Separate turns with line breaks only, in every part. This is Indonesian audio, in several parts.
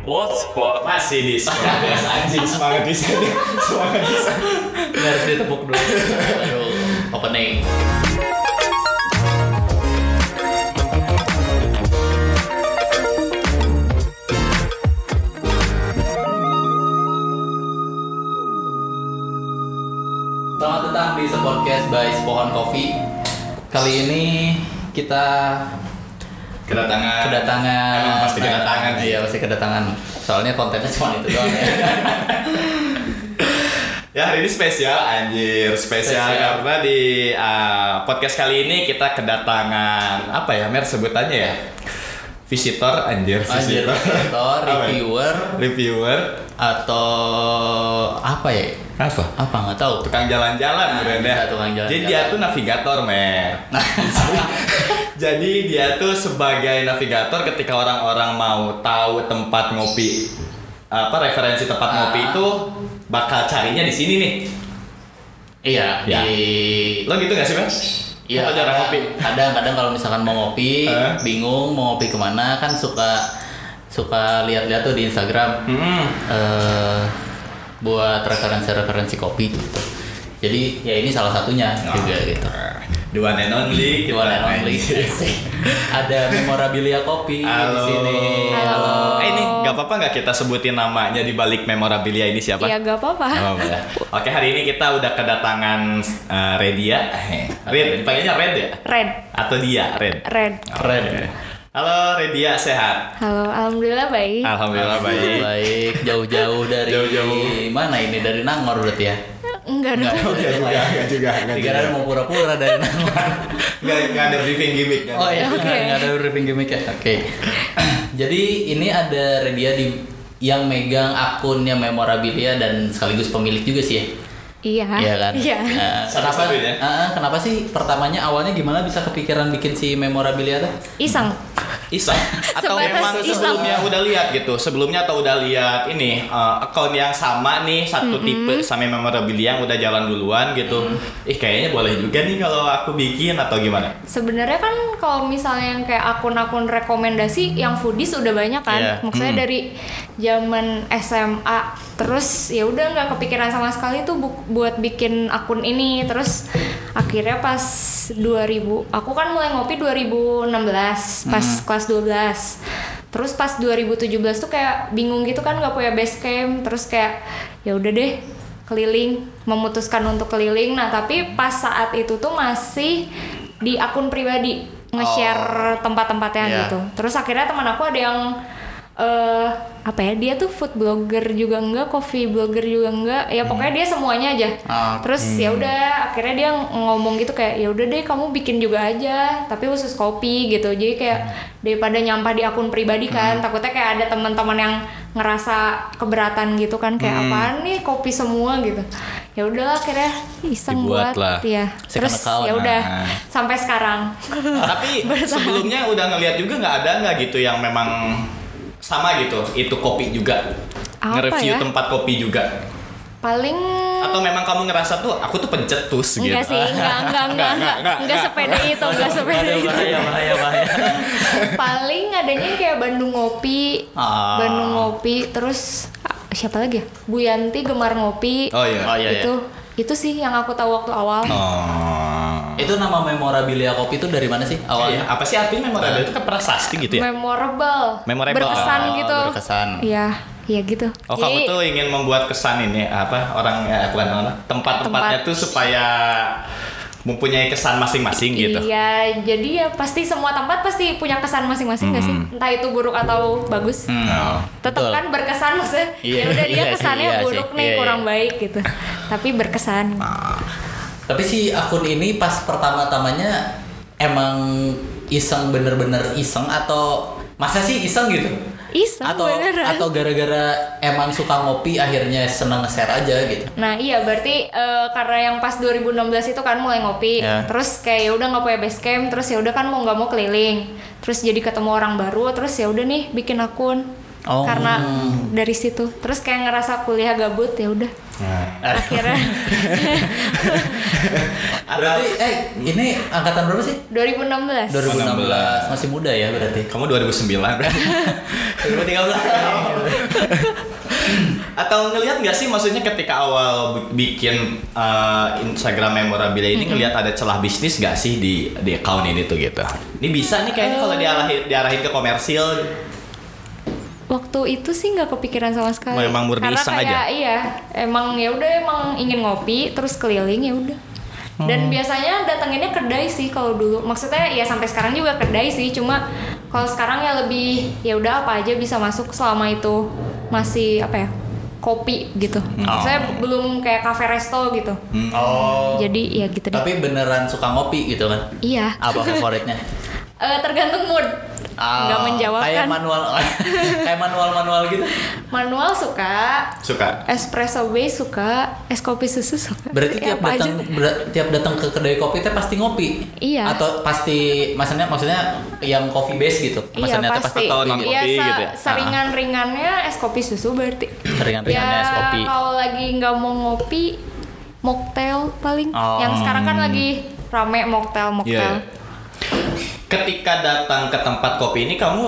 Kok masih di
Yes, anjing semangat di sana. Semangat di sana.
Ini harus ditepuk dulu. Aduh, opening. Selamat datang di Sepodcast by Sepohon Coffee. Kali ini kita
Kedatangan.
kedatangan
Emang pasti kedatangan sih.
iya pasti kedatangan soalnya kontennya cuma itu doang ya.
Ya hari ini spesial anjir, spesial,
Spesial.
karena di uh, podcast kali ini kita kedatangan apa ya Mer sebutannya ya? Visitor anjir,
anjir
visitor.
atau
Apa ya?
reviewer
Reviewer
atau apa ya
apa?
apa nggak tahu
Tukang jalan-jalan
Nah,
keren
iya,
deh.
tukang jalan-jalan.
Jadi dia tuh navigator, Mer.
nah
Jadi dia tuh sebagai navigator ketika orang-orang mau tahu tempat ngopi apa referensi tempat
Ah.
ngopi itu bakal carinya di sini nih.
iya
Ya.
di
Lo gitu gak sih, Mer?
Iya,
Lo jarang
kadang-
ngopi.
Kadang-kadang kalau misalkan mau ngopi,
Eh.
bingung mau ngopi kemana kan suka suka lihat-lihat tuh di Instagram
Hmm.
eh buat referensi-referensi kopi gitu. Jadi ya ini salah satunya
Nah.
juga gitu.
The one and only,
One and only. Ada memorabilia kopi di
Halo.
sini.
Halo.
Halo.
Eh, ini gak apa-apa nggak kita sebutin namanya di balik memorabilia ini siapa?
Iya.
Ya gak
Nggak
apa-apa.
apa-apa ya. Oke, hari ini kita udah kedatangan eh, Redia. Red, panggilnya Red ya?
Red,
Atau dia, Red?
red.
Keren.
Oke. Halo Redia, sehat?
Halo, alhamdulillah baik.
Iya.
Alhamdulillah baik.
Ah, Baik, jauh-jauh dari
Jauh-jauh.
mana ini dari Nangor berarti ya?
Enggak dong.
Enggak
Nggak
juga, enggak juga, enggak juga.
Dikira mau pura-pura dari Nangor.
Enggak enggak ada briefing gimmick kan.
Oh iya,
Oke.
nggak ada briefing gimmick ya. Oke. Jadi ini ada Redia di yang megang akunnya memorabilia dan sekaligus pemilik juga sih ya.
Iya.
Iya kan?
Iya.
Nah, kenapa?
Satu-satunya.
Ah, ah, kenapa sih pertamanya awalnya gimana bisa kepikiran bikin si memorabilia tuh?
Iseng.
Iseng atau
Sebatas
memang
iseng.
sebelumnya udah lihat gitu. Sebelumnya atau udah lihat ini uh, account yang sama nih satu tipe sama memorabilia yang udah jalan duluan gitu. Ih kayaknya boleh juga nih kalau aku bikin atau gimana?
Sebenarnya kan kalau misalnya yang kayak akun-akun rekomendasi yang foodies udah banyak kan.
Iya.
Maksudnya
Mm.
dari zaman SMA terus ya udah nggak kepikiran sama sekali tuh bu- buat bikin akun ini. Terus akhirnya pas 2000, aku kan mulai ngopi 2016 pas kelas 12. Terus pas 2017 tuh kayak bingung gitu kan nggak punya base camp, terus kayak ya udah deh keliling, memutuskan untuk keliling. Nah, tapi pas saat itu tuh masih di akun pribadi nge-share tempat-tempatnya
Iya.
gitu. Terus akhirnya teman aku ada yang eh apa ya dia tuh food blogger juga enggak, coffee blogger juga enggak.
Hmm.
Ya pokoknya dia semuanya aja.
Ah,
Terus ya udah akhirnya dia ngomong gitu kayak ya udah deh kamu bikin juga aja, tapi khusus kopi gitu. Jadi kayak
Hmm.
daripada nyampah di akun pribadi kan, takutnya kayak ada teman-teman yang ngerasa keberatan gitu kan kayak
Hmm.
apaan nih kopi semua gitu. Ya udahlah akhirnya iseng
Dibuat lah.
buat ya.
Second
Terus
account,
ya udah
nah.
sampai sekarang.
Tapi sebelumnya udah ngelihat juga nggak ada nggak gitu yang memang sama gitu. Itu kopi juga.
Apa
Nge-review
ya?
tempat kopi juga.
Paling
Atau memang kamu ngerasa tuh aku tuh pencetus gitu.
enggak sih, enggak enggak enggak enggak enggak, sepede itu, enggak sepede
Aduh,
itu.
bahaya, bahaya, bahaya.
Paling adanya kayak Bandung Ngopi,
Ah.
Bandung Ngopi, terus ah, siapa lagi ya? Bu Yanti gemar ngopi.
Oh iya.
Oh, iya, iya.
itu itu sih yang aku tahu waktu awal.
Oh.
Itu nama memorabilia kopi itu dari mana sih
Awalnya
awalnya?
apa sih artinya memorabilia itu kan prasasti gitu ya?
Memorable.
Memorable.
Berkesan
Oh,
gitu.
berkesan.
Iya, iya gitu.
Oh kamu
Jadi,
tuh ingin membuat kesan ini apa orang ya bukan orang tempat-tempatnya
Tempat.
tuh supaya mempunyai kesan masing-masing gitu.
Iya, jadi ya pasti semua tempat pasti punya kesan masing-masing nggak sih? Entah itu buruk atau bagus.
Oh.
tetap
Betul.
kan berkesan maksudnya
Iya,
ya udah dia
iya sih,
kesannya
iya
buruk
sih,
nih
iya,
kurang
iya.
baik gitu tapi berkesan
Tapi si akun ini pas pertama-tamanya emang iseng bener-bener iseng atau masa sih iseng gitu?
iseng
atau
beneran
atau gara-gara emang suka ngopi akhirnya seneng share aja gitu.
nah iya berarti eh, karena yang pas 2016 itu kan mulai ngopi
Ya.
terus kayak ya udah nggak punya base camp terus ya udah kan mau nggak mau keliling terus jadi ketemu orang baru terus ya udah nih bikin akun
Oh.
karena dari situ terus kayak ngerasa kuliah gabut ya udah
Nah.
akhirnya
Berarti
Atau
eh ini angkatan berapa sih?
2016
2016 masih muda ya berarti.
kamu 2009 2013 atau ngelihat nggak sih maksudnya ketika awal bi- bikin uh, Instagram memorabilia ini ngelihat ada celah bisnis nggak sih di di account ini tuh gitu ini bisa nih
Eh.
kayaknya kalau diarahin diarahin ke komersil
waktu itu sih nggak kepikiran sama sekali
Memang murni
karena
iseng
kayak
aja?
iya emang ya udah emang ingin ngopi terus keliling ya udah dan
Hmm.
biasanya datanginnya kedai sih kalau dulu maksudnya ya sampai sekarang juga kedai sih cuma kalau sekarang ya lebih ya udah apa aja bisa masuk selama itu masih apa ya kopi gitu
Hmm.
saya
Oh.
belum kayak cafe resto gitu
Oh.
jadi ya gitu
Eh.
deh
Tapi beneran suka ngopi gitu kan?
iya
Apa favoritnya?
Eh, tergantung mood
Ah,
nggak menjawabkan
Kayak manual kayak manual-manual gitu.
manual suka
suka
espresso base suka, es kopi susu suka.
Berarti
Ya,
tiap
apa
datang
aja.
ber- tiap datang ke kedai kopi teh pasti ngopi.
Iya.
Atau pasti maksudnya maksudnya yang coffee base gitu.
Iya
Maksudnya teh
pasti.
atau
kopi
non-kopi
Iya, se-
gitu ya?
Seringan-ringannya es kopi susu berarti. Ya,
gitu. Ringan-ringannya
Iya.
es kopi.
kalau lagi nggak mau ngopi, mocktail paling.
Oh.
Yang sekarang kan lagi rame mocktail mocktail.
Iya. ketika datang ke tempat kopi ini kamu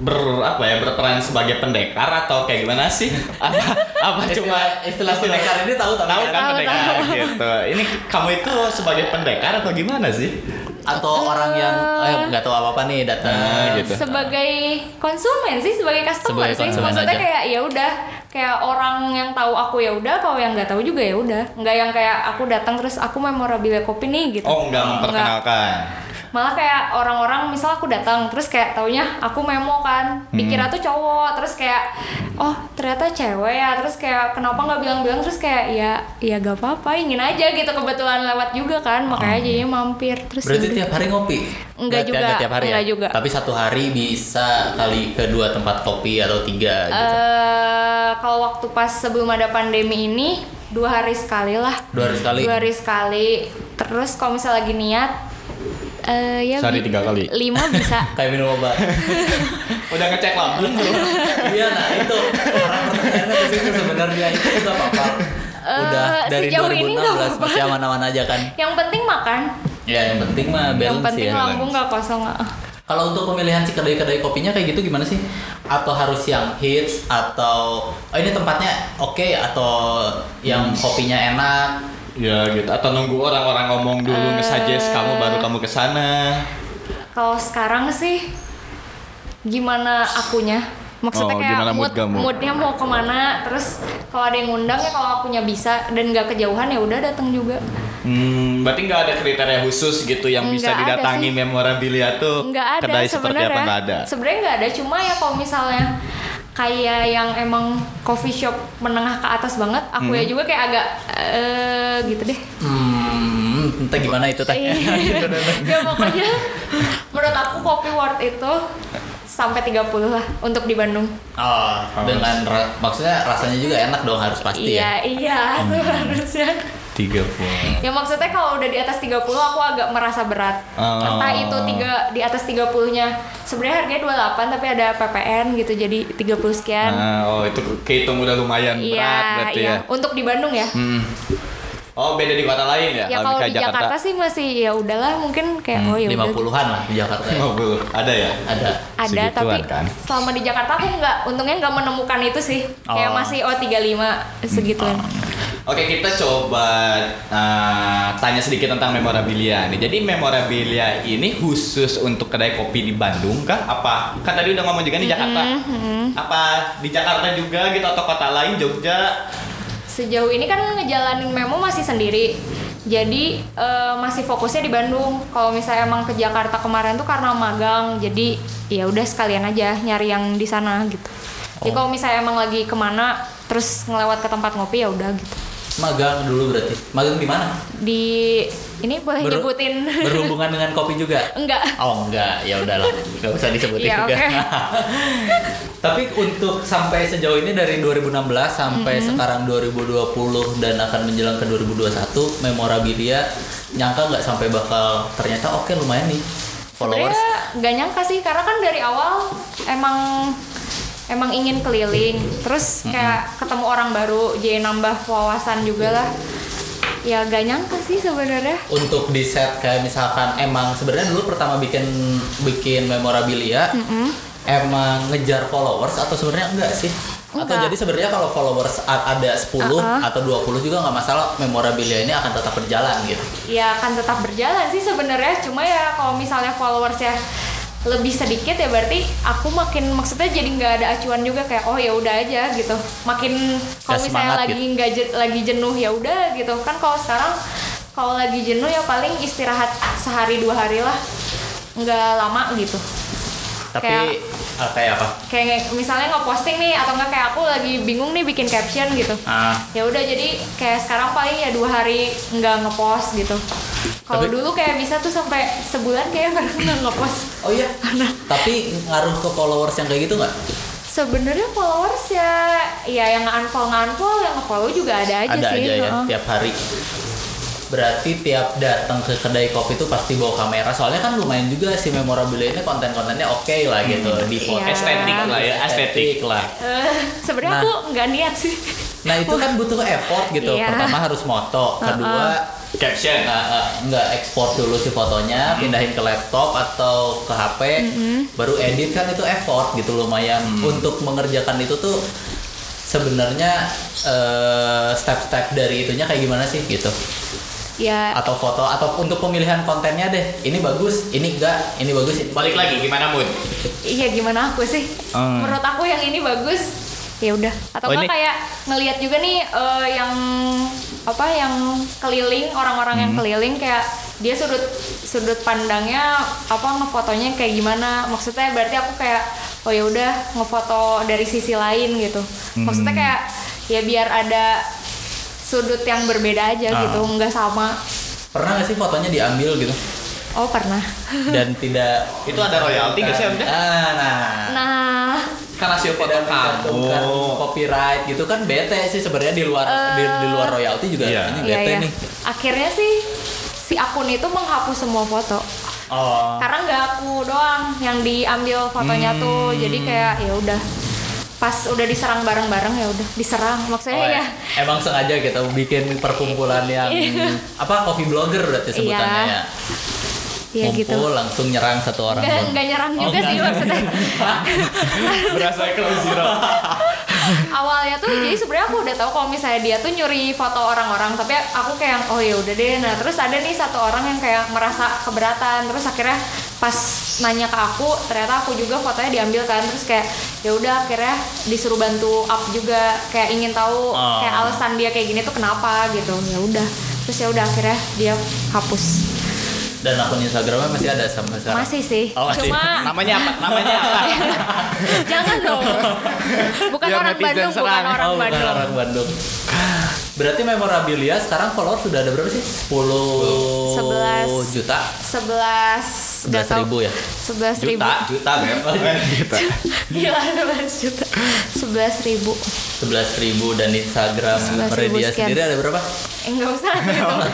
ber apa ya berperan sebagai pendekar atau kayak gimana sih apa apa cuma
Istilah- istilah pendekar ini tahu tapi
tahu
kan?
kan
Tahu,
pendekar
tahu.
gitu ini kamu itu sebagai pendekar atau gimana sih
atau orang yang
Ah.
eh nggak tahu apa-apa nih datang
Nah, gitu.
gitu.
Sebagai konsumen sih, sebagai customer
Sebagai
sih.
konsumen
Maksudnya
aja.
kayak ya udah, kayak orang yang tahu aku ya udah, kalau yang nggak tahu juga ya udah. Nggak yang kayak aku datang terus aku memorabilia kopi nih gitu.
oh nggak memperkenalkan
malah kayak orang-orang misal aku datang terus kayak taunya aku memo kan
Hmm.
dikira tuh cowok terus kayak oh ternyata cewek ya terus kayak kenapa nggak bilang-bilang terus kayak ya ya gak apa-apa ingin aja gitu kebetulan lewat juga kan makanya jadinya mampir terus
Hmm. Berarti
yaudah.
tiap hari ngopi?
Enggak juga,
Enggak tiap hari
enggak
ya?
juga.
Tapi satu hari bisa kali ke dua tempat kopi atau tiga gitu.
Eh, kalau waktu pas sebelum ada pandemi ini dua hari sekali lah
Dua hari sekali?
dua hari sekali terus kalau misal lagi niat eh ya
Sehari
bi-
tiga kali.
lima bisa
Kayak minum obat.
udah ngecek lah belum tuh
Iya nah itu orang pertanyaannya ke situ sebenarnya itu nggak apa-apa. Udah
Eh,
dari
sejauh ini
2016
nggak apa-apa.
masih aman-aman aja kan?
yang penting makan
Ya yang penting mah
yang
balance
penting
ya.
lambung nggak kosong ah.
Kalau untuk pemilihan si kedai-kedai kopinya kayak gitu gimana sih? Atau harus yang hits atau oh ini tempatnya oke atau yang kopinya enak?
ya gitu atau nunggu orang-orang ngomong dulu
Eh.
nge-suggest kamu baru kamu kesana
Kalau sekarang sih gimana akunya?
Oh,
Maksudnya kayak
gimana mood kamu?
moodnya mau kemana? Terus kalau ada yang ngundang ya kalau akunya bisa dan nggak kejauhan ya udah datang juga.
hmm, berarti nggak ada kriteria khusus gitu yang bisa
Nggak ada
didatangi
sih.
memorabilia tuh
Nggak ada
kedai seperti
sebenarnya.
apa nggak ada
Sebenarnya nggak ada. Cuma ya kalau misalnya kayak yang emang coffee shop menengah ke atas banget, aku
Hmm.
ya juga kayak agak eh gitu deh.
Hmm, entah gimana itu teh.
Gitu
ya pokoknya menurut aku kopi worth itu sampai 30 lah untuk di Bandung.
Oh, dengan ra- maksudnya rasanya juga enak dong harus pasti ya.
Iya, iya, itu ya. harusnya.
tiga puluh
Ya maksudnya kalau udah di atas 30 aku agak merasa berat.
Oh.
Entah itu tiga di atas 30-nya. Sebenarnya harganya 28 tapi ada PPN gitu jadi 30 sekian.
Ah, oh itu kehitung udah lumayan
Kan? Iya,
berat berarti
iya.
ya.
Untuk di Bandung ya.
Hmm. Oh beda di kota lain ya?
Ya kalau di Jakarta. sih masih ya udahlah mungkin kayak
Hmm,
oh ya
Lima
udah.
puluhan lah di Jakarta. ya.
50 ada ya?
Ada.
Ada
segituan
tapi
kan.
selama di Jakarta aku nggak untungnya nggak menemukan itu sih. Kayak
Oh.
masih oh 35 segituan.
Oke kita coba uh, tanya sedikit tentang memorabilia nih. Jadi memorabilia ini khusus untuk kedai kopi di Bandung kah? Apa? Kan tadi udah ngomong juga di Jakarta.
Mm-hmm,
Apa di Jakarta juga gitu atau kota lain Jogja?
Sejauh ini kan ngejalanin memo masih sendiri. Jadi eh, masih fokusnya di Bandung. Kalau misalnya emang ke Jakarta kemarin tuh karena magang, jadi ya udah sekalian aja nyari yang di sana gitu. Jadi kalau misalnya emang lagi kemana, terus ngelewat ke tempat ngopi ya udah gitu.
Magang dulu berarti. Magang di mana?
Di ini boleh
Ber-
Eh, nyebutin
Berhubungan dengan kopi juga.
enggak?
Oh enggak, ya udahlah. Enggak usah disebutin
Ya,
juga.
oke.
Tapi untuk sampai sejauh ini dari 2016 sampai
Mm-hmm.
sekarang 2020 dan akan menjelang ke 2021 memorabilia nyangka nggak sampai bakal ternyata oke lumayan nih followers.
Sebenarnya nggak nyangka sih karena kan dari awal emang emang ingin keliling terus kayak ketemu orang baru jadi nambah wawasan juga lah ya gak nyangka sih sebenarnya
untuk di set kayak misalkan emang sebenarnya dulu pertama bikin bikin memorabilia emang ngejar followers atau sebenarnya enggak sih atau
Enggak. Uh-uh.
jadi sebenarnya kalau followers a- ada 10 atau 20 juga nggak masalah memorabilia ini akan tetap berjalan gitu
ya akan tetap berjalan sih sebenarnya cuma ya kalau misalnya followersnya lebih sedikit ya berarti aku makin maksudnya jadi nggak ada acuan juga kayak oh ya udah aja gitu makin
Nggak
kalau misalnya
semangat gitu.
lagi nggak je- lagi jenuh ya udah gitu kan kalau sekarang kalau lagi jenuh ya paling istirahat sehari dua hari lah nggak lama gitu
tapi
Kayak-
ah, kayak apa
kayak misalnya nggak posting nih atau nggak kayak aku lagi bingung nih bikin caption gitu
Ah,
ya udah jadi kayak sekarang paling ya dua hari nggak ngepost gitu kalau
Tapi-
dulu kayak bisa tuh sampai sebulan kayak baru nggak ngepost
oh iya tapi ngaruh ke followers yang kayak gitu nggak
sebenarnya followers ya ya yang unfollow unfollow yang follow juga ada aja
ada
sih uh-uh.
aja ya
heeh.
tiap hari berarti tiap datang ke kedai kopi itu pasti bawa kamera soalnya kan lumayan juga si memorabilia ini konten-kontennya oke lah gitu di foto
Iya.
Estetik lah ya, estetik.
lah
Eh, sebenarnya
Nah.
aku nggak niat sih
nah itu kan butuh effort gitu
Iya.
pertama harus moto kedua
Caption.
Nah, eh, nggak ekspor dulu si fotonya,
Hmm.
pindahin ke laptop atau ke HP, baru edit kan itu effort gitu lumayan.
Hmm.
Untuk mengerjakan itu tuh sebenarnya eh, step-step dari itunya kayak gimana sih gitu?
ya
Atau foto atau untuk pemilihan kontennya deh. Ini bagus, ini enggak, ini bagus. Ini.
Balik lagi gimana mood?
Iya gimana aku sih?
Hmm.
Menurut aku yang ini bagus. Ya udah. Atau
Oh,
enggak
ini-
kayak ngelihat juga nih eh, yang apa yang keliling orang-orang yang
Hmm.
keliling kayak dia sudut sudut pandangnya apa ngefotonya kayak gimana? Maksudnya berarti aku kayak oh ya udah ngefoto dari sisi lain gitu. Maksudnya
Hmm.
kayak ya biar ada sudut yang berbeda aja
Ah.
gitu, nggak sama.
Pernah nggak sih fotonya diambil gitu
Oh pernah.
dan tidak
Itu ada royalti nggak sih, ya? Amda?
Ah, nah.
Nah,
Kan hasil foto
tidak
kamu.
mencantumkan copyright gitu kan bete sih sebenarnya di luar di, di luar royalti juga
Iya.
ini
Eh, iya,
bete
iya.
nih.
Akhirnya sih si akun itu menghapus semua foto.
Oh.
Karena nggak aku doang yang diambil fotonya tuh.
Hmm.
Jadi kayak ya udah. Pas udah diserang bareng-bareng ya udah diserang. Maksudnya
Oh,
ya.
Emang sengaja kita bikin perkumpulan yang apa coffee blogger berarti sebutannya
Iya.
ya.
Ya gitu.
Ngumpul langsung nyerang satu orang.
Nggak,
doang.
nggak nyerang
Oh,
juga
nggak
sih
nyerang.
maksudnya.
Ah, Berasa close zero.
Awalnya tuh jadi sebenarnya aku udah tahu kalau misalnya dia tuh nyuri foto orang-orang, tapi aku kayak oh ya udah deh. Nah, terus ada nih satu orang yang kayak merasa keberatan. Terus akhirnya pas nanya ke aku, ternyata aku juga fotonya diambil kan. Terus kayak ya udah akhirnya disuruh bantu up juga kayak ingin tahu
Oh.
kayak alasan dia kayak gini tuh kenapa gitu. Ya udah. Terus ya udah akhirnya dia hapus.
Dan akun Instagramnya masih ada sampai sekarang.
Masih sih.
Oh, masih.
Cuma
Namanya apa? Namanya apa?
jangan dong. Bukan
Biar
orang
netizen
Bandung, bukan
serang.
orang
Oh, bukan
Bandung.
orang Bandung. Berarti memorabilia sekarang follower sudah ada berapa sih? 10
Sebelas.
juta. 11
11 nggak tahu.
ribu ya.
11 ribu
Juta, juta, Beb. Juta.
gila 11 juta 11 ribu
11 ribu dan Instagram
11.000
Meredia
sekian.
sendiri ada berapa?
eh, nggak usah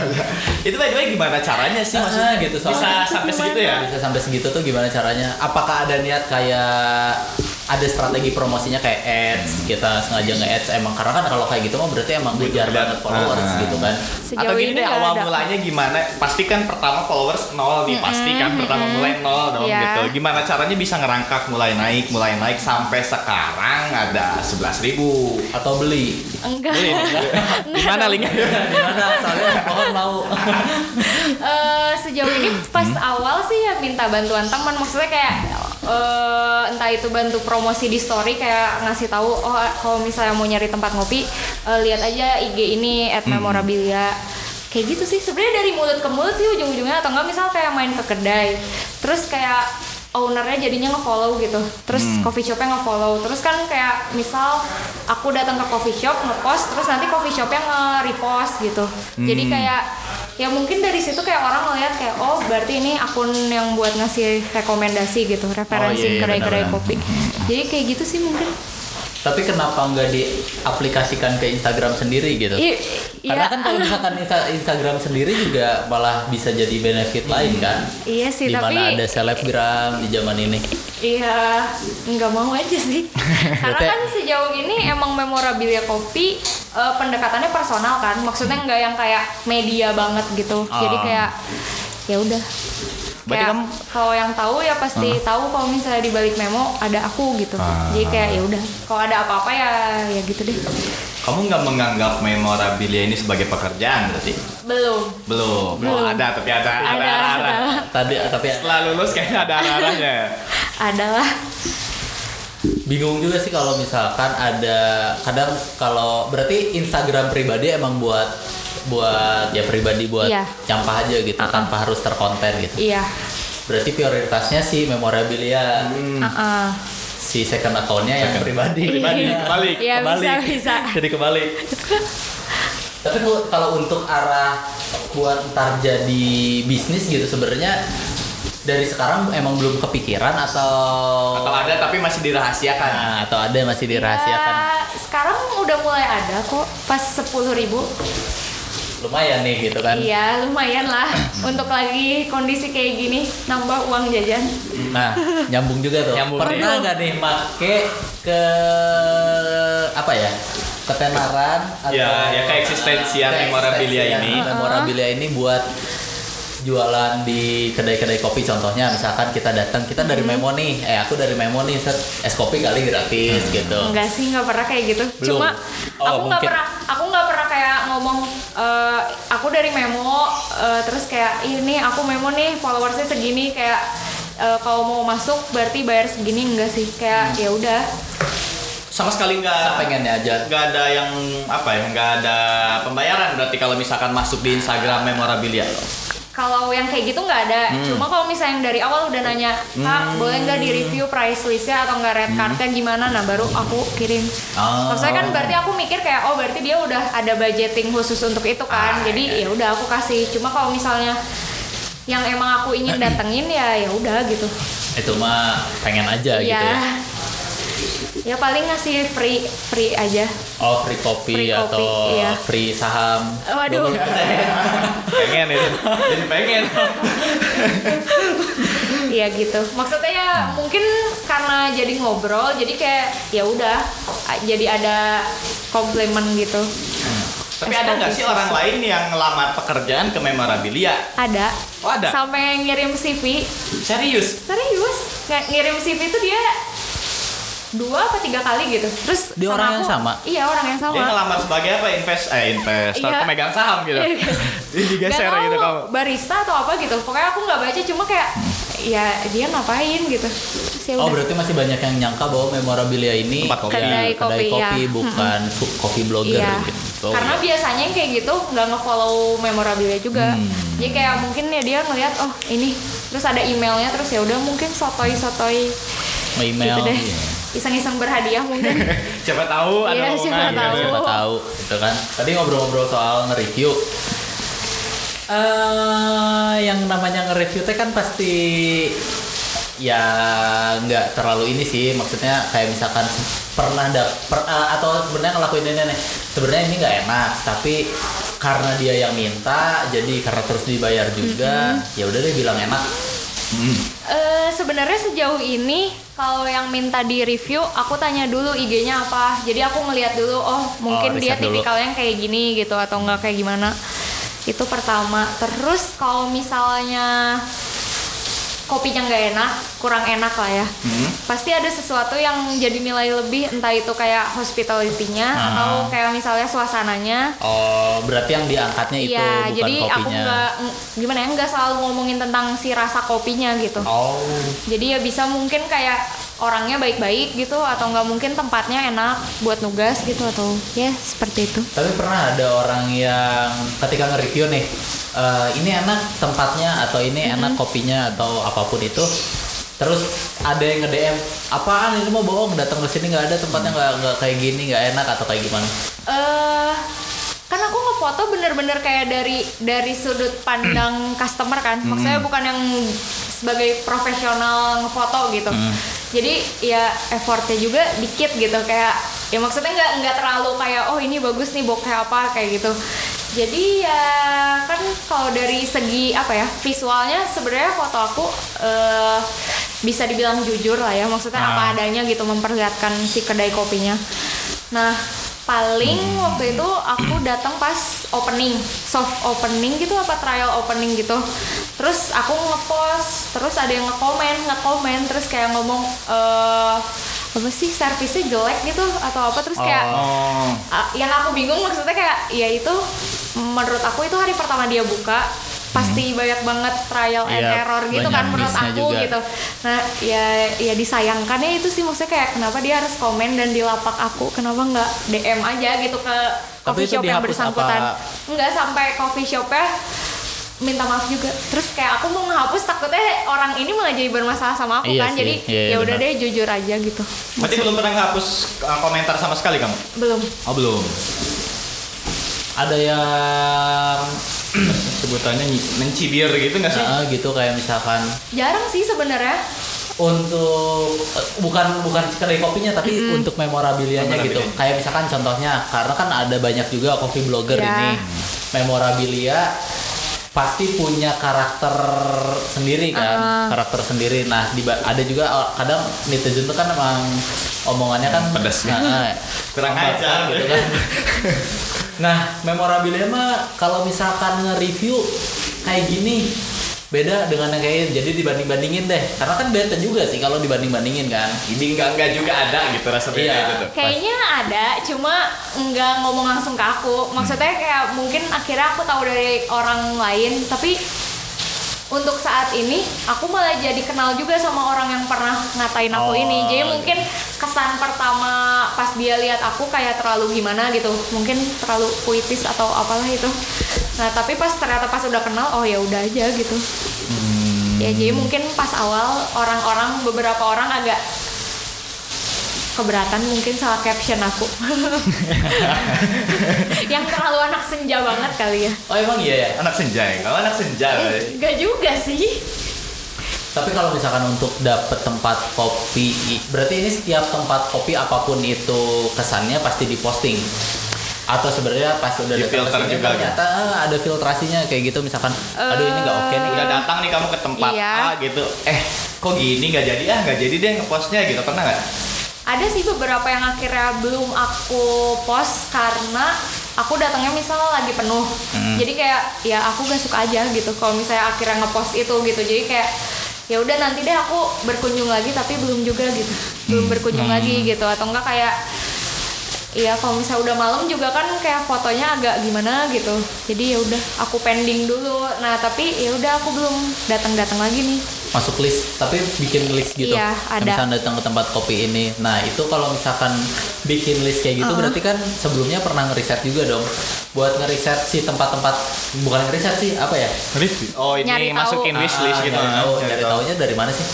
Itu by the way gimana caranya sih
Ah,
maksudnya?
gitu
Bisa
soalnya.
sampai segitu ya?
Bisa sampai segitu tuh gimana caranya? Apakah ada niat kayak ada strategi promosinya kayak
Hmm.
ads kita sengaja nge ads emang karena kan kalau kayak gitu mah berarti emang ngejar banget followers
Ah.
gitu kan.
Sejauh
Atau gini
ini
deh
nggak
awal
ada.
mulanya gimana? Pasti kan pertama followers nol nih, pasti kan pertama mulai nol dong
Iya.
gitu. Gimana caranya bisa ngerangkak mulai naik, mulai naik sampai sekarang ada 11.000 ribu.
Atau beli.
enggak
Gimana
Nah.
linknya?
Gimana? Soalnya pohon mau.
Eh, sejauh ini pas awal sih ya minta bantuan teman maksudnya kayak eh, entah itu bantu promosi di story kayak ngasih tahu oh kalau misalnya mau nyari tempat ngopi eh, lihat aja IG ini at memorabilia kayak gitu sih sebenarnya dari mulut ke mulut sih ujung-ujungnya atau enggak misal kayak main ke kedai terus kayak ownernya jadinya nge-follow gitu terus coffee shopnya nge-follow terus kan kayak misal aku datang ke coffee shop nge-post terus nanti coffee shopnya nge-repost gitu jadi kayak ya mungkin dari situ kayak orang ngeliat kayak oh berarti ini akun yang buat ngasih rekomendasi gitu
Oh,
referensi
iya, iya,
kedai-kedai
benar-benar.
kopi
hmm.
jadi kayak gitu sih mungkin
Tapi kenapa nggak diaplikasikan ke Instagram sendiri gitu?
I-
Karena
iya
kan kalau misalkan Insta- Instagram sendiri juga malah bisa jadi benefit lain kan.
iya sih
Di
tapi
mana ada selebgram di zaman ini.
Iya, nggak mau aja sih. Karena kan sejauh ini emang memorabilia kopi eh, pendekatannya personal kan. Maksudnya nggak yang kayak media banget gitu. Jadi
Ah.
kayak ya udah.
Berarti
Kayak
kamu-
kalau yang tahu ya pasti tahu kalau misalnya di balik memo ada aku gitu.
Ah.
Jadi kayak ya udah. Kalau ada apa-apa ya ya gitu deh.
Kamu nggak menganggap memorabilia ini sebagai pekerjaan berarti?
Belum.
Belum. Belum
Belum.
ada tapi ada ada
Ada
arah-arah.
ada Iya.
Tadi tapi
Setelah lulus kayaknya ada arahnya.
ada lah.
bingung juga sih kalau misalkan ada kadang kalau berarti Instagram pribadi emang buat buat ya pribadi buat
Iya.
nyampah aja gitu tanpa harus terkonten gitu.
Iya.
Berarti prioritasnya si memorabilia
Hmm.
Ah-ah.
si second accountnya yang
Second.
pribadi.
Pribadi,
Iya.
kebalik,
Iya bisa
kebalik.
bisa.
Jadi kebalik. Tapi kalau- kalau untuk arah buat ntar jadi bisnis gitu sebenarnya dari sekarang emang belum kepikiran atau
Atau ada tapi masih dirahasiakan.
Nah, atau ada yang masih dirahasiakan?
Ya, sekarang udah mulai ada kok pas 10.000 ribu
Kan? Lumayan nih gitu kan.
Iya lumayan lah untuk lagi kondisi kayak gini nambah uang jajan
Nah, nyambung juga tuh.
Nyambung.
Pernah
Aduh.
nggak nih make ke apa ya? Ketenaran atau
Ya, ya keeksistensian
Keeksistensian
memorabilia ini.
Memorabilia ini buat jualan di kedai-kedai kopi contohnya misalkan kita datang kita dari memo nih eh aku dari memo nih set es kopi kali
Hmm.
gratis gitu
Enggak sih nggak pernah kayak gitu
Belum.
cuma
Oh,
aku nggak
mungkin.
pernah aku nggak pernah kayak ngomong eh, aku dari memo eh, terus kayak ini aku memo nih followersnya segini kayak eh, kalau mau masuk berarti bayar segini enggak sih
Hmm.
kayak ya udah
Sama sekali nggak
pengennya aja
nggak ada yang apa ya nggak ada pembayaran berarti kalau misalkan masuk di Instagram memorabilia
Kalau yang kayak gitu nggak ada.
Hmm.
Cuma kalau misalnya yang dari awal udah nanya, Kak, boleh nggak di review price listnya atau nggak red cardnya gimana? Nah baru aku kirim.
Hmm. Oh.
Maksudnya kan berarti aku mikir kayak, oh berarti dia udah ada budgeting khusus untuk itu
Ah,
kan.
iya,
Jadi ya udah aku kasih. Cuma kalau misalnya yang emang aku ingin datengin ya ya udah gitu.
itu mah pengen aja gitu ya
ya. Ya paling ngasih free free aja.
oh free kopi
Free kopi,
atau
iya.
free saham
Waduh.
pengen itu jadi pengen
Iya gitu. Maksudnya ya mungkin karena jadi ngobrol jadi kayak ya udah a- jadi ada komplimen gitu.
tapi ada nggak sih orang lain yang ngelamar pekerjaan ke memorabilia
Ada.
Oh, ada?
Sampai ngirim CV.
serius
Serius. Nggak ngirim CV itu dia dua apa tiga kali gitu. Terus
Dia orang yang sama?
Iya, orang yang sama.
dia ngelamar sebagai apa invest eh investor
Iya.
pemegang saham gitu
Iya.
ini digeser
Nggak tahu
gitu kamu
barista atau apa gitu. Pokoknya aku nggak baca cuma kayak ya dia ngapain gitu. Terus ya
Oh
udah.
berarti masih banyak yang nyangka bahwa memorabilia ini Iya,
Tempat kopi.
kedai,
Kedai
kedai
kopi,
kopi
ya.
bukan su- kopi blogger
Iya.
gitu.
Karena biasanya yang kayak gitu nggak ngefollow memorabilia juga. Jadi kayak mungkin ya dia ngelihat oh ini terus ada emailnya terus ya udah mungkin sotoi sotoi
email
gitu deh.
iya.
Iseng-iseng berhadiah mungkin.
siapa tahu ada
Iya, siapa
omongan
tahu.
gitu
siapa tahu gitu kan. Tadi ngobrol-ngobrol soal nge-review. Eh, yang namanya nge-review teh kan pasti ya nggak terlalu ini sih maksudnya kayak misalkan pernah ada per- eh, atau sebenarnya ngelakuin ini nih sebenarnya ini nggak enak tapi karena dia yang minta jadi karena terus dibayar juga ya udah deh bilang enak
Eh, sebenarnya sejauh ini kalau yang minta di review aku tanya dulu IG-nya apa jadi aku ngelihat dulu oh mungkin
Oh,
dia
riset dulu.
tipikalnya kayak gini gitu atau enggak kayak gimana itu pertama terus kalau misalnya kopinya nggak enak kurang enak lah ya
Hmm.
pasti ada sesuatu yang jadi nilai lebih entah itu kayak hospitality-nya
Ah.
atau kayak misalnya suasananya
Oh, berarti yang diangkatnya itu
Iya,
bukan
jadi aku
kopinya.
nggak ng- gimana ya nggak selalu ngomongin tentang si rasa kopinya gitu.
Oh,
Jadi ya bisa mungkin kayak orangnya baik-baik gitu atau nggak mungkin tempatnya enak buat nugas gitu atau ya seperti itu.
tapi pernah ada orang yang ketika nge-review nih, eh, ini enak tempatnya atau ini enak kopinya atau apapun itu. Terus ada yang nge-DM, apaan ini mau bohong, datang ke sini nggak ada tempatnya nggak nggak kayak gini, nggak enak atau kayak gimana?
Eh kan aku ngefoto bener-bener kayak dari dari sudut pandang customer kan. Maksudnya bukan yang sebagai profesional ngefoto gitu. Jadi ya effortnya juga dikit gitu kayak ya maksudnya nggak nggak terlalu kayak oh ini bagus nih bokeh apa kayak gitu. Jadi ya kan kalau dari segi apa ya visualnya sebenarnya foto aku eh bisa dibilang jujur lah ya maksudnya apa
Ah.
adanya gitu memperlihatkan si kedai kopinya nah paling waktu itu aku datang pas opening soft opening gitu apa trial opening gitu terus aku ngepost terus ada yang ngekomen ngekomen terus kayak ngomong eh apa sih servisnya jelek gitu atau apa terus kayak
Oh.
Uh, yang aku bingung maksudnya kayak ya itu menurut aku itu hari pertama dia buka pasti banyak banget trial and
Hmm. Iya,
error gitu
banyak
kan menurut
miss-nya
aku
juga.
gitu nah ya ya disayangkannya itu sih maksudnya kayak kenapa dia harus komen dan di lapak aku kenapa nggak DM aja gitu ke coffee
itu
shop yang
dihapus
bersangkutan
apa?
nggak sampai coffee shopnya minta maaf juga terus kayak aku mau ngehapus takutnya orang ini malah jadi bermasalah sama aku
Iya
kan
sih,
jadi
iya, iya,
ya udah
benar.
deh jujur aja gitu
Berarti belum pernah ngapus uh, komentar sama sekali kamu?
belum
Oh belum.
ada yang
Sebutannya nyi- mencibir gitu nggak sih?
Nah, gitu kayak misalkan
jarang sih sebenarnya
untuk eh, bukan bukan sekedar kopinya tapi untuk memorabilianya gitu.
Memorabilia.
Kayak misalkan contohnya karena kan ada banyak juga kopi blogger
Iya.
ini memorabilia pasti punya karakter sendiri kan, karakter sendiri. Nah, di, ada juga eh, kadang netizen tuh kan emang omongannya kan
Pedas.
Nah,
Kurang
ombak
ajar.
gitu kan. nah, memorabilia mah kalau misalkan nge-review kayak gini beda dengan yang kayak jadi dibanding-bandingin deh. Karena kan beda juga sih kalau dibanding-bandingin kan.
Ini enggak enggak juga ada gitu rasanya
Iya.
itu tuh.
Kayaknya ada, cuma nggak ngomong langsung ke aku. Maksudnya kayak mungkin akhirnya aku tahu dari orang lain, tapi untuk saat ini aku malah jadi kenal juga sama orang yang pernah ngatain aku
Oh,
ini. Jadi
gitu.
mungkin kesan pertama pas dia lihat aku kayak terlalu gimana gitu, mungkin terlalu puitis atau apalah itu. Nah tapi pas ternyata pas udah kenal, oh ya udah aja gitu. Ya jadi mungkin pas awal orang-orang beberapa orang agak keberatan mungkin salah caption aku yang terlalu anak senja banget kali ya
Oh emang iya ya.
Anak senja ya? Kalau anak senja.
eh, gak juga sih
Tapi kalau misalkan untuk dapet tempat kopi, berarti ini setiap tempat kopi apapun itu kesannya pasti diposting. Atau sebenarnya pas udah datang
Difilter
ke sini,
juga, kan?
ternyata ah, ada filtrasinya kayak gitu misalkan, aduh ini nggak oke nih.
Udah datang nih kamu ke tempat
Iya.
A gitu. Eh, kok gini nggak jadi ah nggak jadi deh ngepostnya gitu pernah nggak?
ada sih beberapa yang akhirnya belum aku post karena aku datangnya misal lagi penuh jadi kayak ya aku gak suka aja gitu kalau misalnya akhirnya ngepost itu gitu jadi kayak ya udah nanti deh aku berkunjung lagi tapi belum juga gitu belum berkunjung lagi gitu atau enggak kayak Iya, kalau misalnya udah malam juga kan kayak fotonya agak gimana gitu. Jadi ya udah aku pending dulu. Nah, tapi ya udah aku belum datang-datang lagi nih.
masuk list tapi bikin list gitu
Iya, ada.
misalnya datang ke tempat kopi ini nah itu kalau misalkan bikin list kayak
Uh-huh.
gitu berarti kan sebelumnya pernah ngeriset juga dong buat ngeriset si tempat-tempat bukan ngeriset sih apa ya
Oh ini
Nyari tahu.
masukin wishlist
Ah,
gitu.
nyari tahu
Nyari
nyari
tahu.
tahunya dari mana sih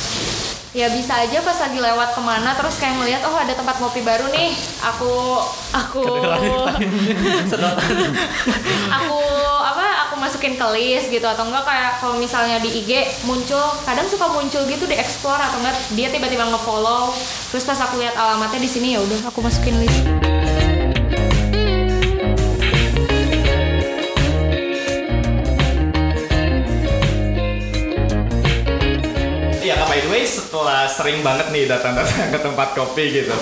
Ya bisa aja pas lagi lewat kemana terus kayak ngeliat oh ada tempat ngopi baru nih. Aku aku
Sedotan.
aku apa aku masukin ke list gitu atau enggak kayak kalau misalnya di IG muncul kadang suka muncul gitu di explore atau enggak dia tiba-tiba nge-follow terus pas aku lihat alamatnya di sini ya udah aku masukin list
Iya, Kak, by the way, setelah sering banget nih datang-datang ke tempat kopi gitu,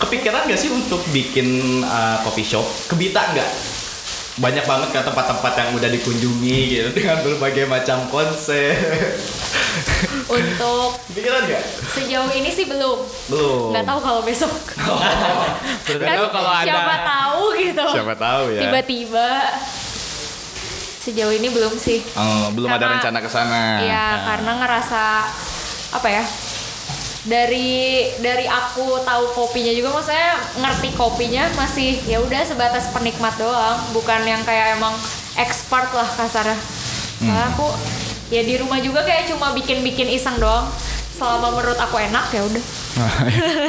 kepikiran nggak sih untuk bikin uh, coffee shop? Kebita nggak? Banyak banget kan tempat-tempat yang udah dikunjungi gitu dengan berbagai macam konsep.
untuk
Kepikiran nggak?
sejauh ini sih belum
Belum.
nggak tahu kalau besok
Oh.
Kan
Nggak tahu kalau ada.
siapa tahu gitu
Siapa tahu ya.
tiba-tiba sejauh ini belum sih
Oh, belum ada
Karena-
rencana ke sana.
Iya, karena ngerasa apa ya? Dari dari aku tahu kopinya juga maksudnya ngerti kopinya masih ya udah sebatas penikmat doang, bukan yang kayak emang expert lah kasarnya. Nah, aku ya di rumah juga kayak cuma bikin-bikin iseng doang. Selama menurut aku enak ya udah.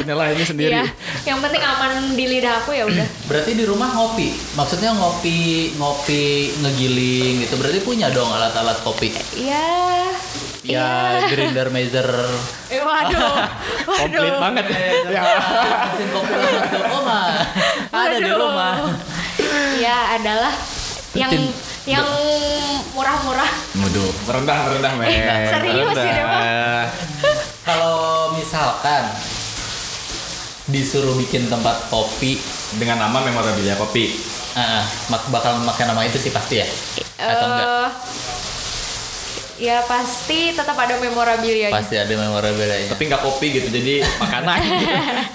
Nyalahinnya
Iya, yang penting aman di lidah aku ya udah.
berarti di rumah ngopi maksudnya ngopi ngopi ngegiling gitu berarti punya dong alat-alat kopi
Iya.
ya grinder measure
Eh, waduh. Waduh.
Komplit banget. Ya.
mesin kopi untuk oma ada di
Waduh.
rumah
Iya, adalah yang
Rutin.
yang murah-murah.
Waduh, merendah merendah men.
Serius ini, Pak?
Merendah.
Kalau kontrakan disuruh bikin tempat kopi
dengan nama memorabilia kopi
ah mak bakal memakai nama itu sih pasti ya atau enggak
Eh, ya pasti tetap ada memorabilia
pasti ada memorabilia
tapi nggak kopi gitu jadi makanan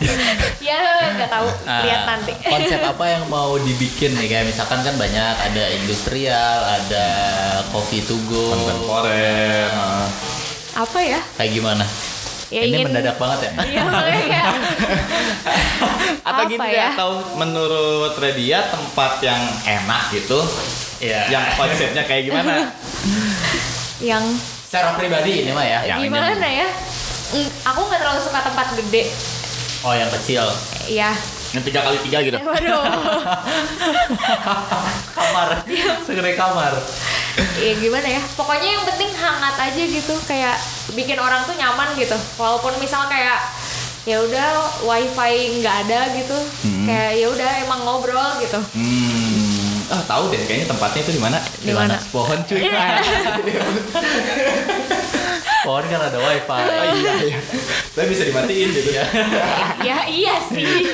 gitu.
ya nggak tahu
Nah,
lihat nanti
Ah, konsep apa yang mau dibikin nih kayak misalkan kan banyak ada industrial ada coffee to go
kontemporer eh.
apa ya
kayak gimana
ya
ini
ingin
mendadak banget ya
Iya, makanya.
atau
Apa
gini deh,
ya?
atau menurut Redia tempat yang enak gitu
Iya.
yang konsepnya kayak gimana
yang
secara pribadi ini mah ya
Yang ini.
gimana ya Mm, aku nggak terlalu suka tempat gede
oh yang kecil
ya
yang tiga kali tiga gitu
waduh
kamar segede kamar
ya gimana ya pokoknya yang penting hangat aja gitu kayak bikin orang tuh nyaman gitu walaupun misal kayak ya udah wifi nggak ada gitu kayak ya udah emang ngobrol gitu
hmm ah tahu deh kayaknya tempatnya itu di mana
Di mana?
pohon cuy
Iya.
pohon kan ada wifi
oh, iya iya tapi bisa dimatiin gitu ya
ya iya sih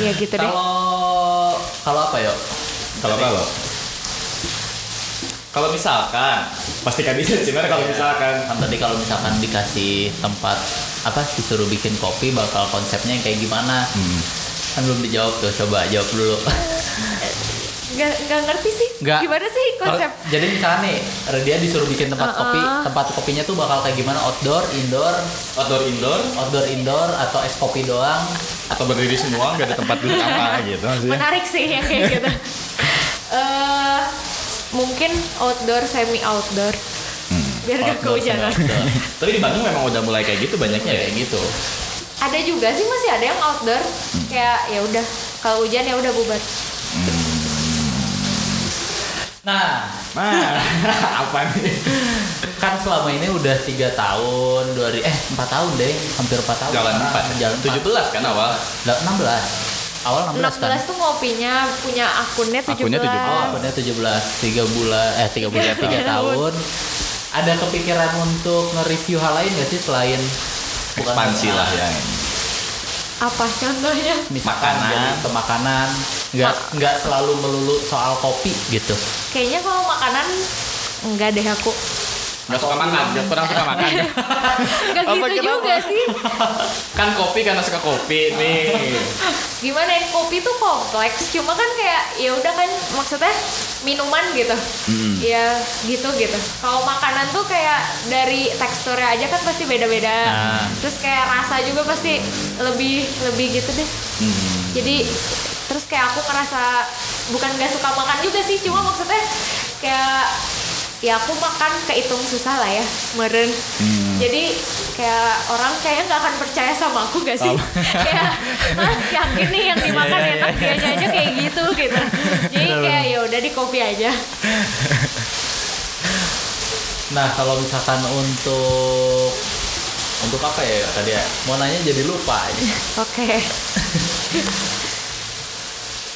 ya gitu deh
kalau kalau apa yuk
kalau kalau kalau misalkan pasti kan bisa sih Mer, kalau misalkan
kan tadi kalau misalkan dikasih tempat apa disuruh bikin kopi bakal konsepnya yang kayak gimana kan belum dijawab tuh coba jawab dulu
nggak nggak ngerti sih
Nggak.
gimana sih konsep
Kalau- jadi misalnya nih dia disuruh bikin tempat kopi
Uh-uh.
tempat kopinya tuh bakal kayak gimana outdoor indoor
outdoor indoor
outdoor indoor atau es kopi doang
atau berdiri semua nggak ada tempat duduk apa gitu
iya.
maksudnya
menarik sih yang kayak gitu eh mungkin outdoor semi outdoor biar gak
Hmm, Outdoor,
kehujanan
outdoor.
tapi di Bandung memang udah mulai kayak gitu
ya
banyaknya ya
kayak gitu
ada juga sih masih ada yang outdoor
Hmm.
kayak ya udah kalau hujan ya udah bubar
nah
nah apa nih
kan selama ini udah tiga tahun dua ri- eh empat tahun deh hampir empat tahun
jalan
Nah,
empat
jalan
tujuh belas kan awal
enam belas awal
16
enam belas kan
tuh ngopinya punya akunnya 17
Akunnya 17.
Oh, akunnya 17, 3 bulan, eh 3 bulan, 3
Tiga
tahun. Ada kepikiran untuk nge-review hal lain gak sih selain bukan
ekspansi lah ya
apa contohnya
Misalkan
Makanan.
jadi ke makanan, nggak nggak selalu melulu soal kopi gitu.
kayaknya kalau makanan enggak deh aku
nggak suka makan nggak kurang suka makan
enggak
Apa, kenapa?
gitu juga sih
kan kopi karena suka kopi nih
gimana ya kopi tuh kompleks cuma kan kayak ya udah kan maksudnya minuman gitu ya gitu gitu kalau makanan tuh kayak dari teksturnya aja kan pasti beda-beda
Nah.
terus kayak rasa juga pasti lebih lebih gitu deh jadi terus kayak aku ngerasa bukan gak suka makan juga sih cuma maksudnya kayak ya aku makan kehitung susah lah ya meren
Hmm.
jadi kayak orang kayaknya nggak akan percaya sama aku gak sih kayak ah yakin nih yang dimakan
Iya, iya,
enak
iya.
dianya aja kayak gitu gitu jadi kayak ya udah di kopi aja
Nah, kalau misalkan untuk untuk apa ya tadi ya? Mau nanya jadi lupa.
oke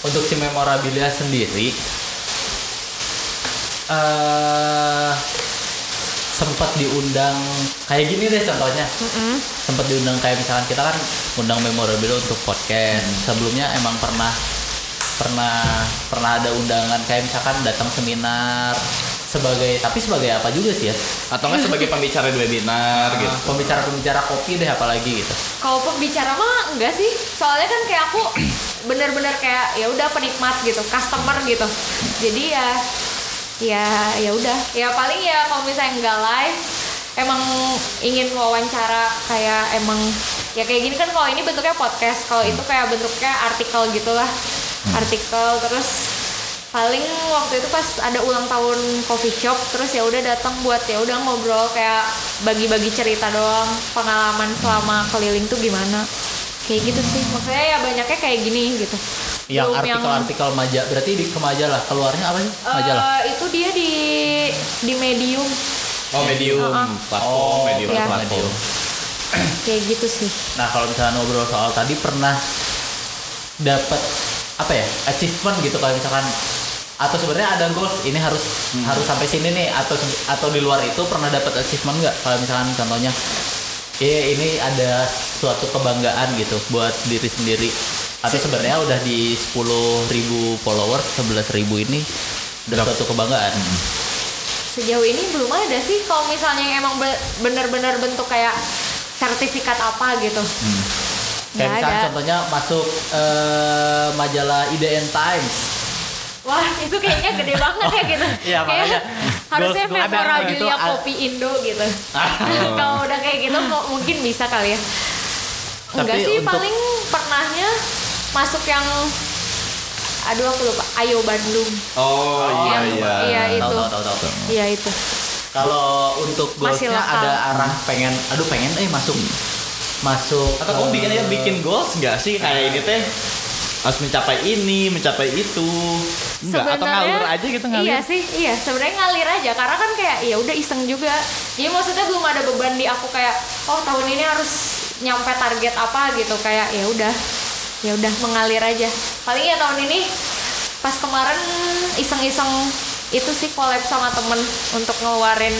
untuk si memorabilia sendiri eh sempat diundang kayak gini deh contohnya sempat diundang kayak misalkan kita kan undang memorabilia untuk podcast sebelumnya emang pernah pernah pernah ada undangan kayak misalkan datang seminar sebagai tapi sebagai apa juga sih ya
atau nggak sebagai pembicara di webinar gitu
pembicara-pembicara kopi deh apalagi gitu
kalau pembicara mah enggak sih soalnya kan kayak aku bener-bener kayak ya udah penikmat gitu customer gitu jadi ya ya ya udah ya paling ya kalau misalnya nggak live emang ingin wawancara kayak emang ya kayak gini kan kalau ini bentuknya podcast kalau itu kayak bentuknya artikel gitulah Hmm. artikel terus paling waktu itu pas ada ulang tahun coffee shop terus ya udah datang buat ya udah ngobrol kayak bagi-bagi cerita doang pengalaman selama keliling tuh gimana kayak gitu sih maksudnya ya banyaknya kayak gini gitu
yang
Belum
artikel-artikel majalah berarti di ke majalah keluarnya apa sih
eh,
majalah
itu dia di di medium
oh medium
Uh-uh.
platform medium
iya.
platform
kayak gitu sih
Nah kalau misalnya ngobrol soal tadi pernah dapat apa ya achievement gitu kalau misalkan atau sebenarnya ada goals ini harus harus sampai sini nih atau atau di luar itu pernah dapat achievement nggak kalau misalkan contohnya Iya ini ada suatu kebanggaan gitu buat diri sendiri. Atau sebenarnya udah di 10.000 followers, 11.000 ini udah suatu kebanggaan.
Sejauh ini belum ada sih kalau misalnya yang emang be- bener-bener bentuk kayak sertifikat apa gitu. Nggak
Hmm. Kayak misalnya
ada.
contohnya masuk eh, majalah IDN Times.
Wah itu kayaknya gede banget ya gitu.
Iya,
Kayak
makanya.
harusnya
Goals- goals-
memorabilia
itu al- Oh.
kopi Indo gitu. kalau udah kayak gitu mo- mungkin bisa kali ya. Enggak
Tapi
sih
untuk-
paling pernahnya masuk yang aduh aku lupa Ayo Bandung.
Oh, iya
yang-
iya.
iya,
Tahu,
itu.
tahu, tahu, tahu.
Iya itu.
Kalau untuk
Masih
goalsnya
lokal.
ada arah pengen, aduh pengen eh masuk masuk.
Atau kamu
eh,
bikin aja bikin goals nggak sih kayak ini teh harus mencapai ini, mencapai itu. Enggak, atau
Sebenarnya-
ngalur aja gitu ngalir.
Iya sih, iya. Sebenarnya ngalir aja karena kan kayak ya udah iseng juga. Jadi maksudnya belum ada beban di aku kayak oh tahun ini harus nyampe target apa gitu kayak ya udah. Ya udah mengalir aja. Paling ya tahun ini pas kemarin iseng-iseng itu sih collab sama temen untuk ngeluarin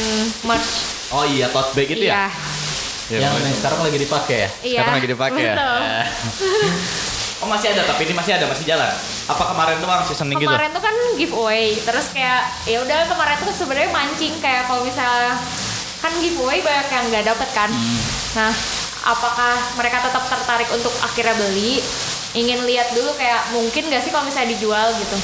merch.
Oh iya, tote bag itu ya? Iya,
yang,
boleh.
yang sekarang lagi dipakai ya.
Iya.
Sekarang lagi dipakai ya?
Betul.
Oh masih ada, tapi ini masih ada, masih jalan. Apa kemarin doang seasoning gitu?
kemarin tuh kan giveaway terus kayak ya udah kemarin tuh sebenarnya mancing kayak kalau misalnya kan giveaway banyak yang nggak dapet kan
Hmm.
nah apakah mereka tetap tertarik untuk akhirnya beli ingin lihat dulu kayak mungkin nggak sih kalau misalnya dijual gitu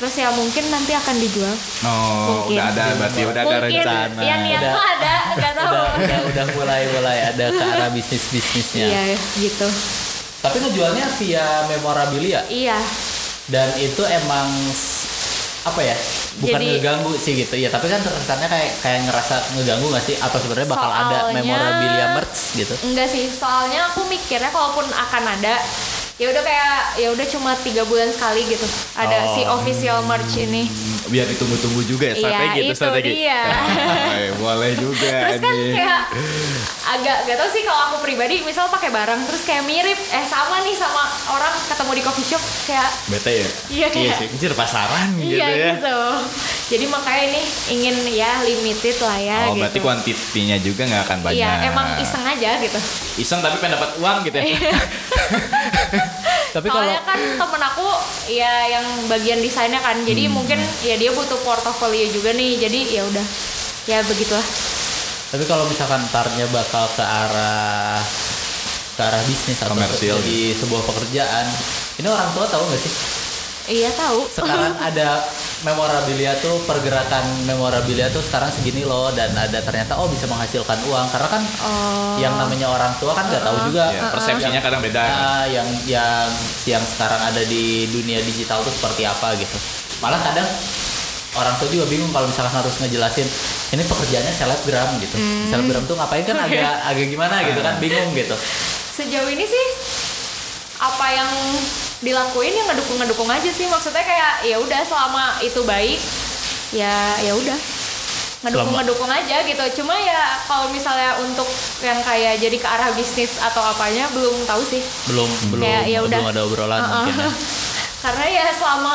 terus ya mungkin nanti akan dijual
Oh,
Mungkin.
udah ada berarti udah ada
mungkin
rencana.
ya niat
Udah.
tuh ada nggak tahu
udah, udah udah mulai mulai ada ke arah bisnis
Ya.
bisnisnya.
iya gitu
Tapi ngejualnya via memorabilia
iya
dan itu emang s- apa ya? Bukan
Jadi-
ngeganggu sih gitu ya. Tapi kan terkesannya kayak kayak ngerasa ngeganggu nggak sih? Atau sebenarnya bakal ada
Soalnya-
memorabilia merch gitu?
Enggak sih, soalnya aku mikirnya kalaupun akan ada ya udah kayak ya udah cuma tiga bulan sekali gitu ada
Oh,
si
hmm.
official merch ini
Biar ditunggu-tunggu juga ya
Iya,
strategi itu
itu
strategi.
dia.
Eh, boleh juga
terus kan
nih.
kayak agak gak tau sih kalau aku pribadi misal pakai barang terus kayak mirip eh sama nih sama orang ketemu di coffee shop kayak
Bete ya?
Iya, kayak-
sih, anjir pasaran gitu
iya
ya.
gitu jadi makanya ini ingin ya limited lah ya
Oh,
gitu
berarti kuantitinya juga nggak akan banyak.
iya emang iseng Iya. aja gitu
Iseng tapi pengen dapat uang gitu ya.
Tapi kalau
Soalnya kan temen aku ya yang bagian desainnya kan, jadi
Hmm.
mungkin ya dia butuh portofolio juga nih, jadi ya udah ya begitulah.
Tapi kalau misalkan tarnya bakal ke arah ke arah bisnis atau
Komersil
di sebuah pekerjaan, ini orang tua tahu nggak sih?
Iya tahu.
Sekarang ada memorabilia tuh pergerakan memorabilia tuh sekarang segini loh dan ada ternyata oh bisa menghasilkan uang karena kan
Oh.
yang namanya orang tua kan nggak tahu juga
Ya, persepsinya kadang beda.
Iya.
Ah, yang yang yang sekarang ada di dunia digital tuh seperti apa gitu. Malah kadang orang tua juga bingung kalau misalkan harus ngejelasin ini pekerjaannya selebgram gitu.
Hmm.
Selebgram tuh ngapain kan agak agak gimana gitu kan bingung gitu.
Sejauh ini sih apa yang dilakuin yang ngedukung ngedukung aja sih, maksudnya kayak ya udah selama itu baik ya ya udah ngedukung
Selama-
ngedukung aja gitu. Cuma ya kalau misalnya untuk yang kayak jadi ke arah bisnis atau apanya belum tahu sih.
Belum belum
Kayak ya udah.
belum ada obrolan
Uh-uh.
mungkin. ya.
Karena ya selama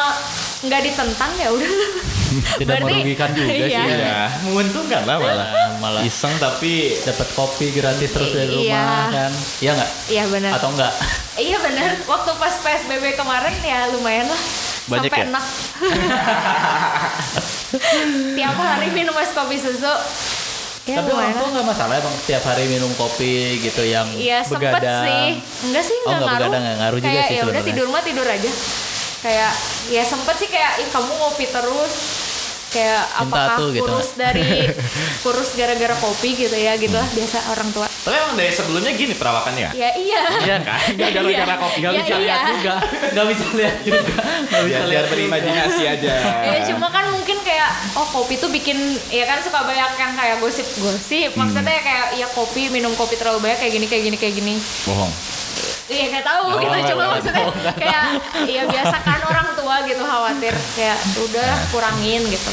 nggak ditentang ya udah.
Tidak merugikan juga sih
iya.
ya.
Iya, menguntungkan lah malah.
Nah, malah
Iseng tapi
dapat kopi gratis terus dari
Iya.
rumah kan. Iya nggak?
Iya benar.
Atau enggak?
Iya benar. Waktu pas PSBB kemarin ya lumayan lah.
Banyak
Sampai
ya?
enak. Tiap hari minum es kopi susu. Ya
Tapi orang
lumayan
tua
lah.
nggak masalah emang setiap hari minum kopi gitu yang
Iya sempet
begadang.
sih. Enggak sih
Oh,
enggak
enggak
ngaruh.
begadang, enggak ngaruh juga
kayak,
sih
ya udah
sebenarnya.
tidur mah tidur aja. Kayak ya sempet sih kayak ih kamu ngopi terus kayak
Minta
apakah
tuh gitu.
kurus dari kurus gara-gara kopi gitu ya gitu lah biasa orang tua.
Tapi emang dari sebelumnya gini perawakannya?
Ya iya.
Iya kan? Gak gara-gara kopi.
Nggak
Ya,
bisa lihat
iya.
juga, nggak bisa lihat juga, nggak bisa
Biar, biar
lihat juga.
berimajinasi aja.
Ya cuma kan mungkin kayak oh kopi tuh bikin ya kan suka banyak yang kayak gosip-gosip.
Hmm.
Maksudnya kayak ya kopi minum kopi terlalu banyak kayak gini kayak gini kayak gini.
Bohong.
Iya nggak tahu
Oh,
gitu
nggak
cuma
tahu.
maksudnya kayak ya biasa kan orang tua gitu khawatir kayak udah kurangin gitu.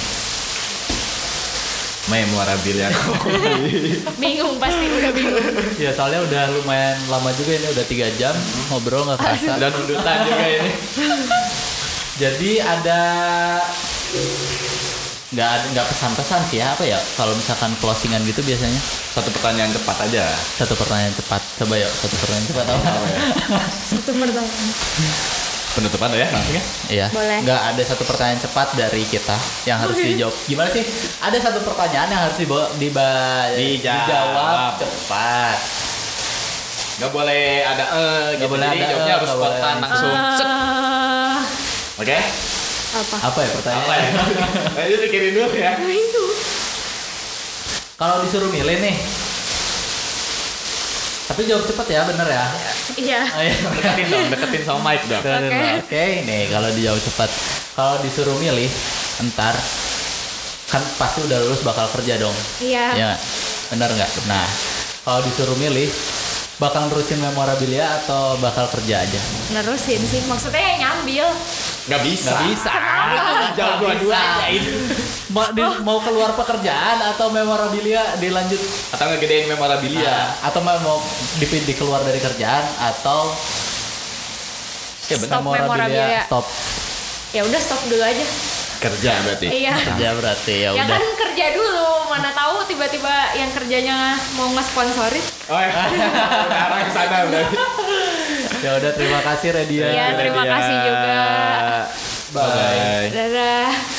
Memorabilia kopi.
Bingung pasti udah bingung.
Ya soalnya udah lumayan lama juga ini udah tiga jam ngobrol nggak kerasa.
Dan tuntutan juga ini.
Jadi ada nggak ada- nggak pesan-pesan sih ya apa ya kalau misalkan closingan gitu biasanya
Satu pertanyaan cepat aja.
satu pertanyaan cepat coba yuk satu pertanyaan cepat apa
Apa ya?
Satu pertanyaan.
Penutupan ya langsung ya.
Iya.
Boleh.
Nggak ada satu pertanyaan cepat dari kita yang harus dijawab. Gimana sih? Ada satu pertanyaan yang harus dibawa, diba-
Dijawab.
cepat.
Gak boleh ada eh
Nggak
gitu.
boleh
Jadi
ada,
jawabnya
eh,
harus
nggak boleh
spontan langsung. Set.
Ah,
Oke.
Eh, apa?
Apa ya
Apa
pertanyaannya?
ya? Nah, itu pikirin dulu ya.
Apa itu?
Kalau disuruh milih nih. Tapi jawab cepat ya, bener ya.
Iya.
Oh, iya.
Deketin dong, deketin sama mic dong.
Bener,
Oke.
bener. Oke, nih kalau dijawab cepat. Kalau disuruh milih, entar kan pasti udah lulus bakal kerja dong.
Iya.
Iya, nggak? benar nggak? Nah, kalau disuruh milih, bakal nerusin memorabilia atau bakal kerja aja?
Nerusin sih. Maksudnya yang nyambil.
Gak bisa.
Nggak bisa.
Jawab dua-duanya itu.
Mau, di- mau keluar pekerjaan atau memorabilia dilanjut?
Atau ngegedein memorabilia.
Ah, atau mau mau di- dikeluar dari kerjaan atau
Ya, benar. Stop memorabilia.
stop
Ya udah stop dulu aja.
Kerja berarti.
Iya.
kerja berarti ya
Ya
udah.
kan kerja dulu, mana tahu tiba-tiba yang kerjanya mau ngesponsorin.
Oh ya. Udah arah ke sana berarti.
Ya udah Iya, terima kasih Redia.
Iya, terima kasih juga.
Bye.
Dadah.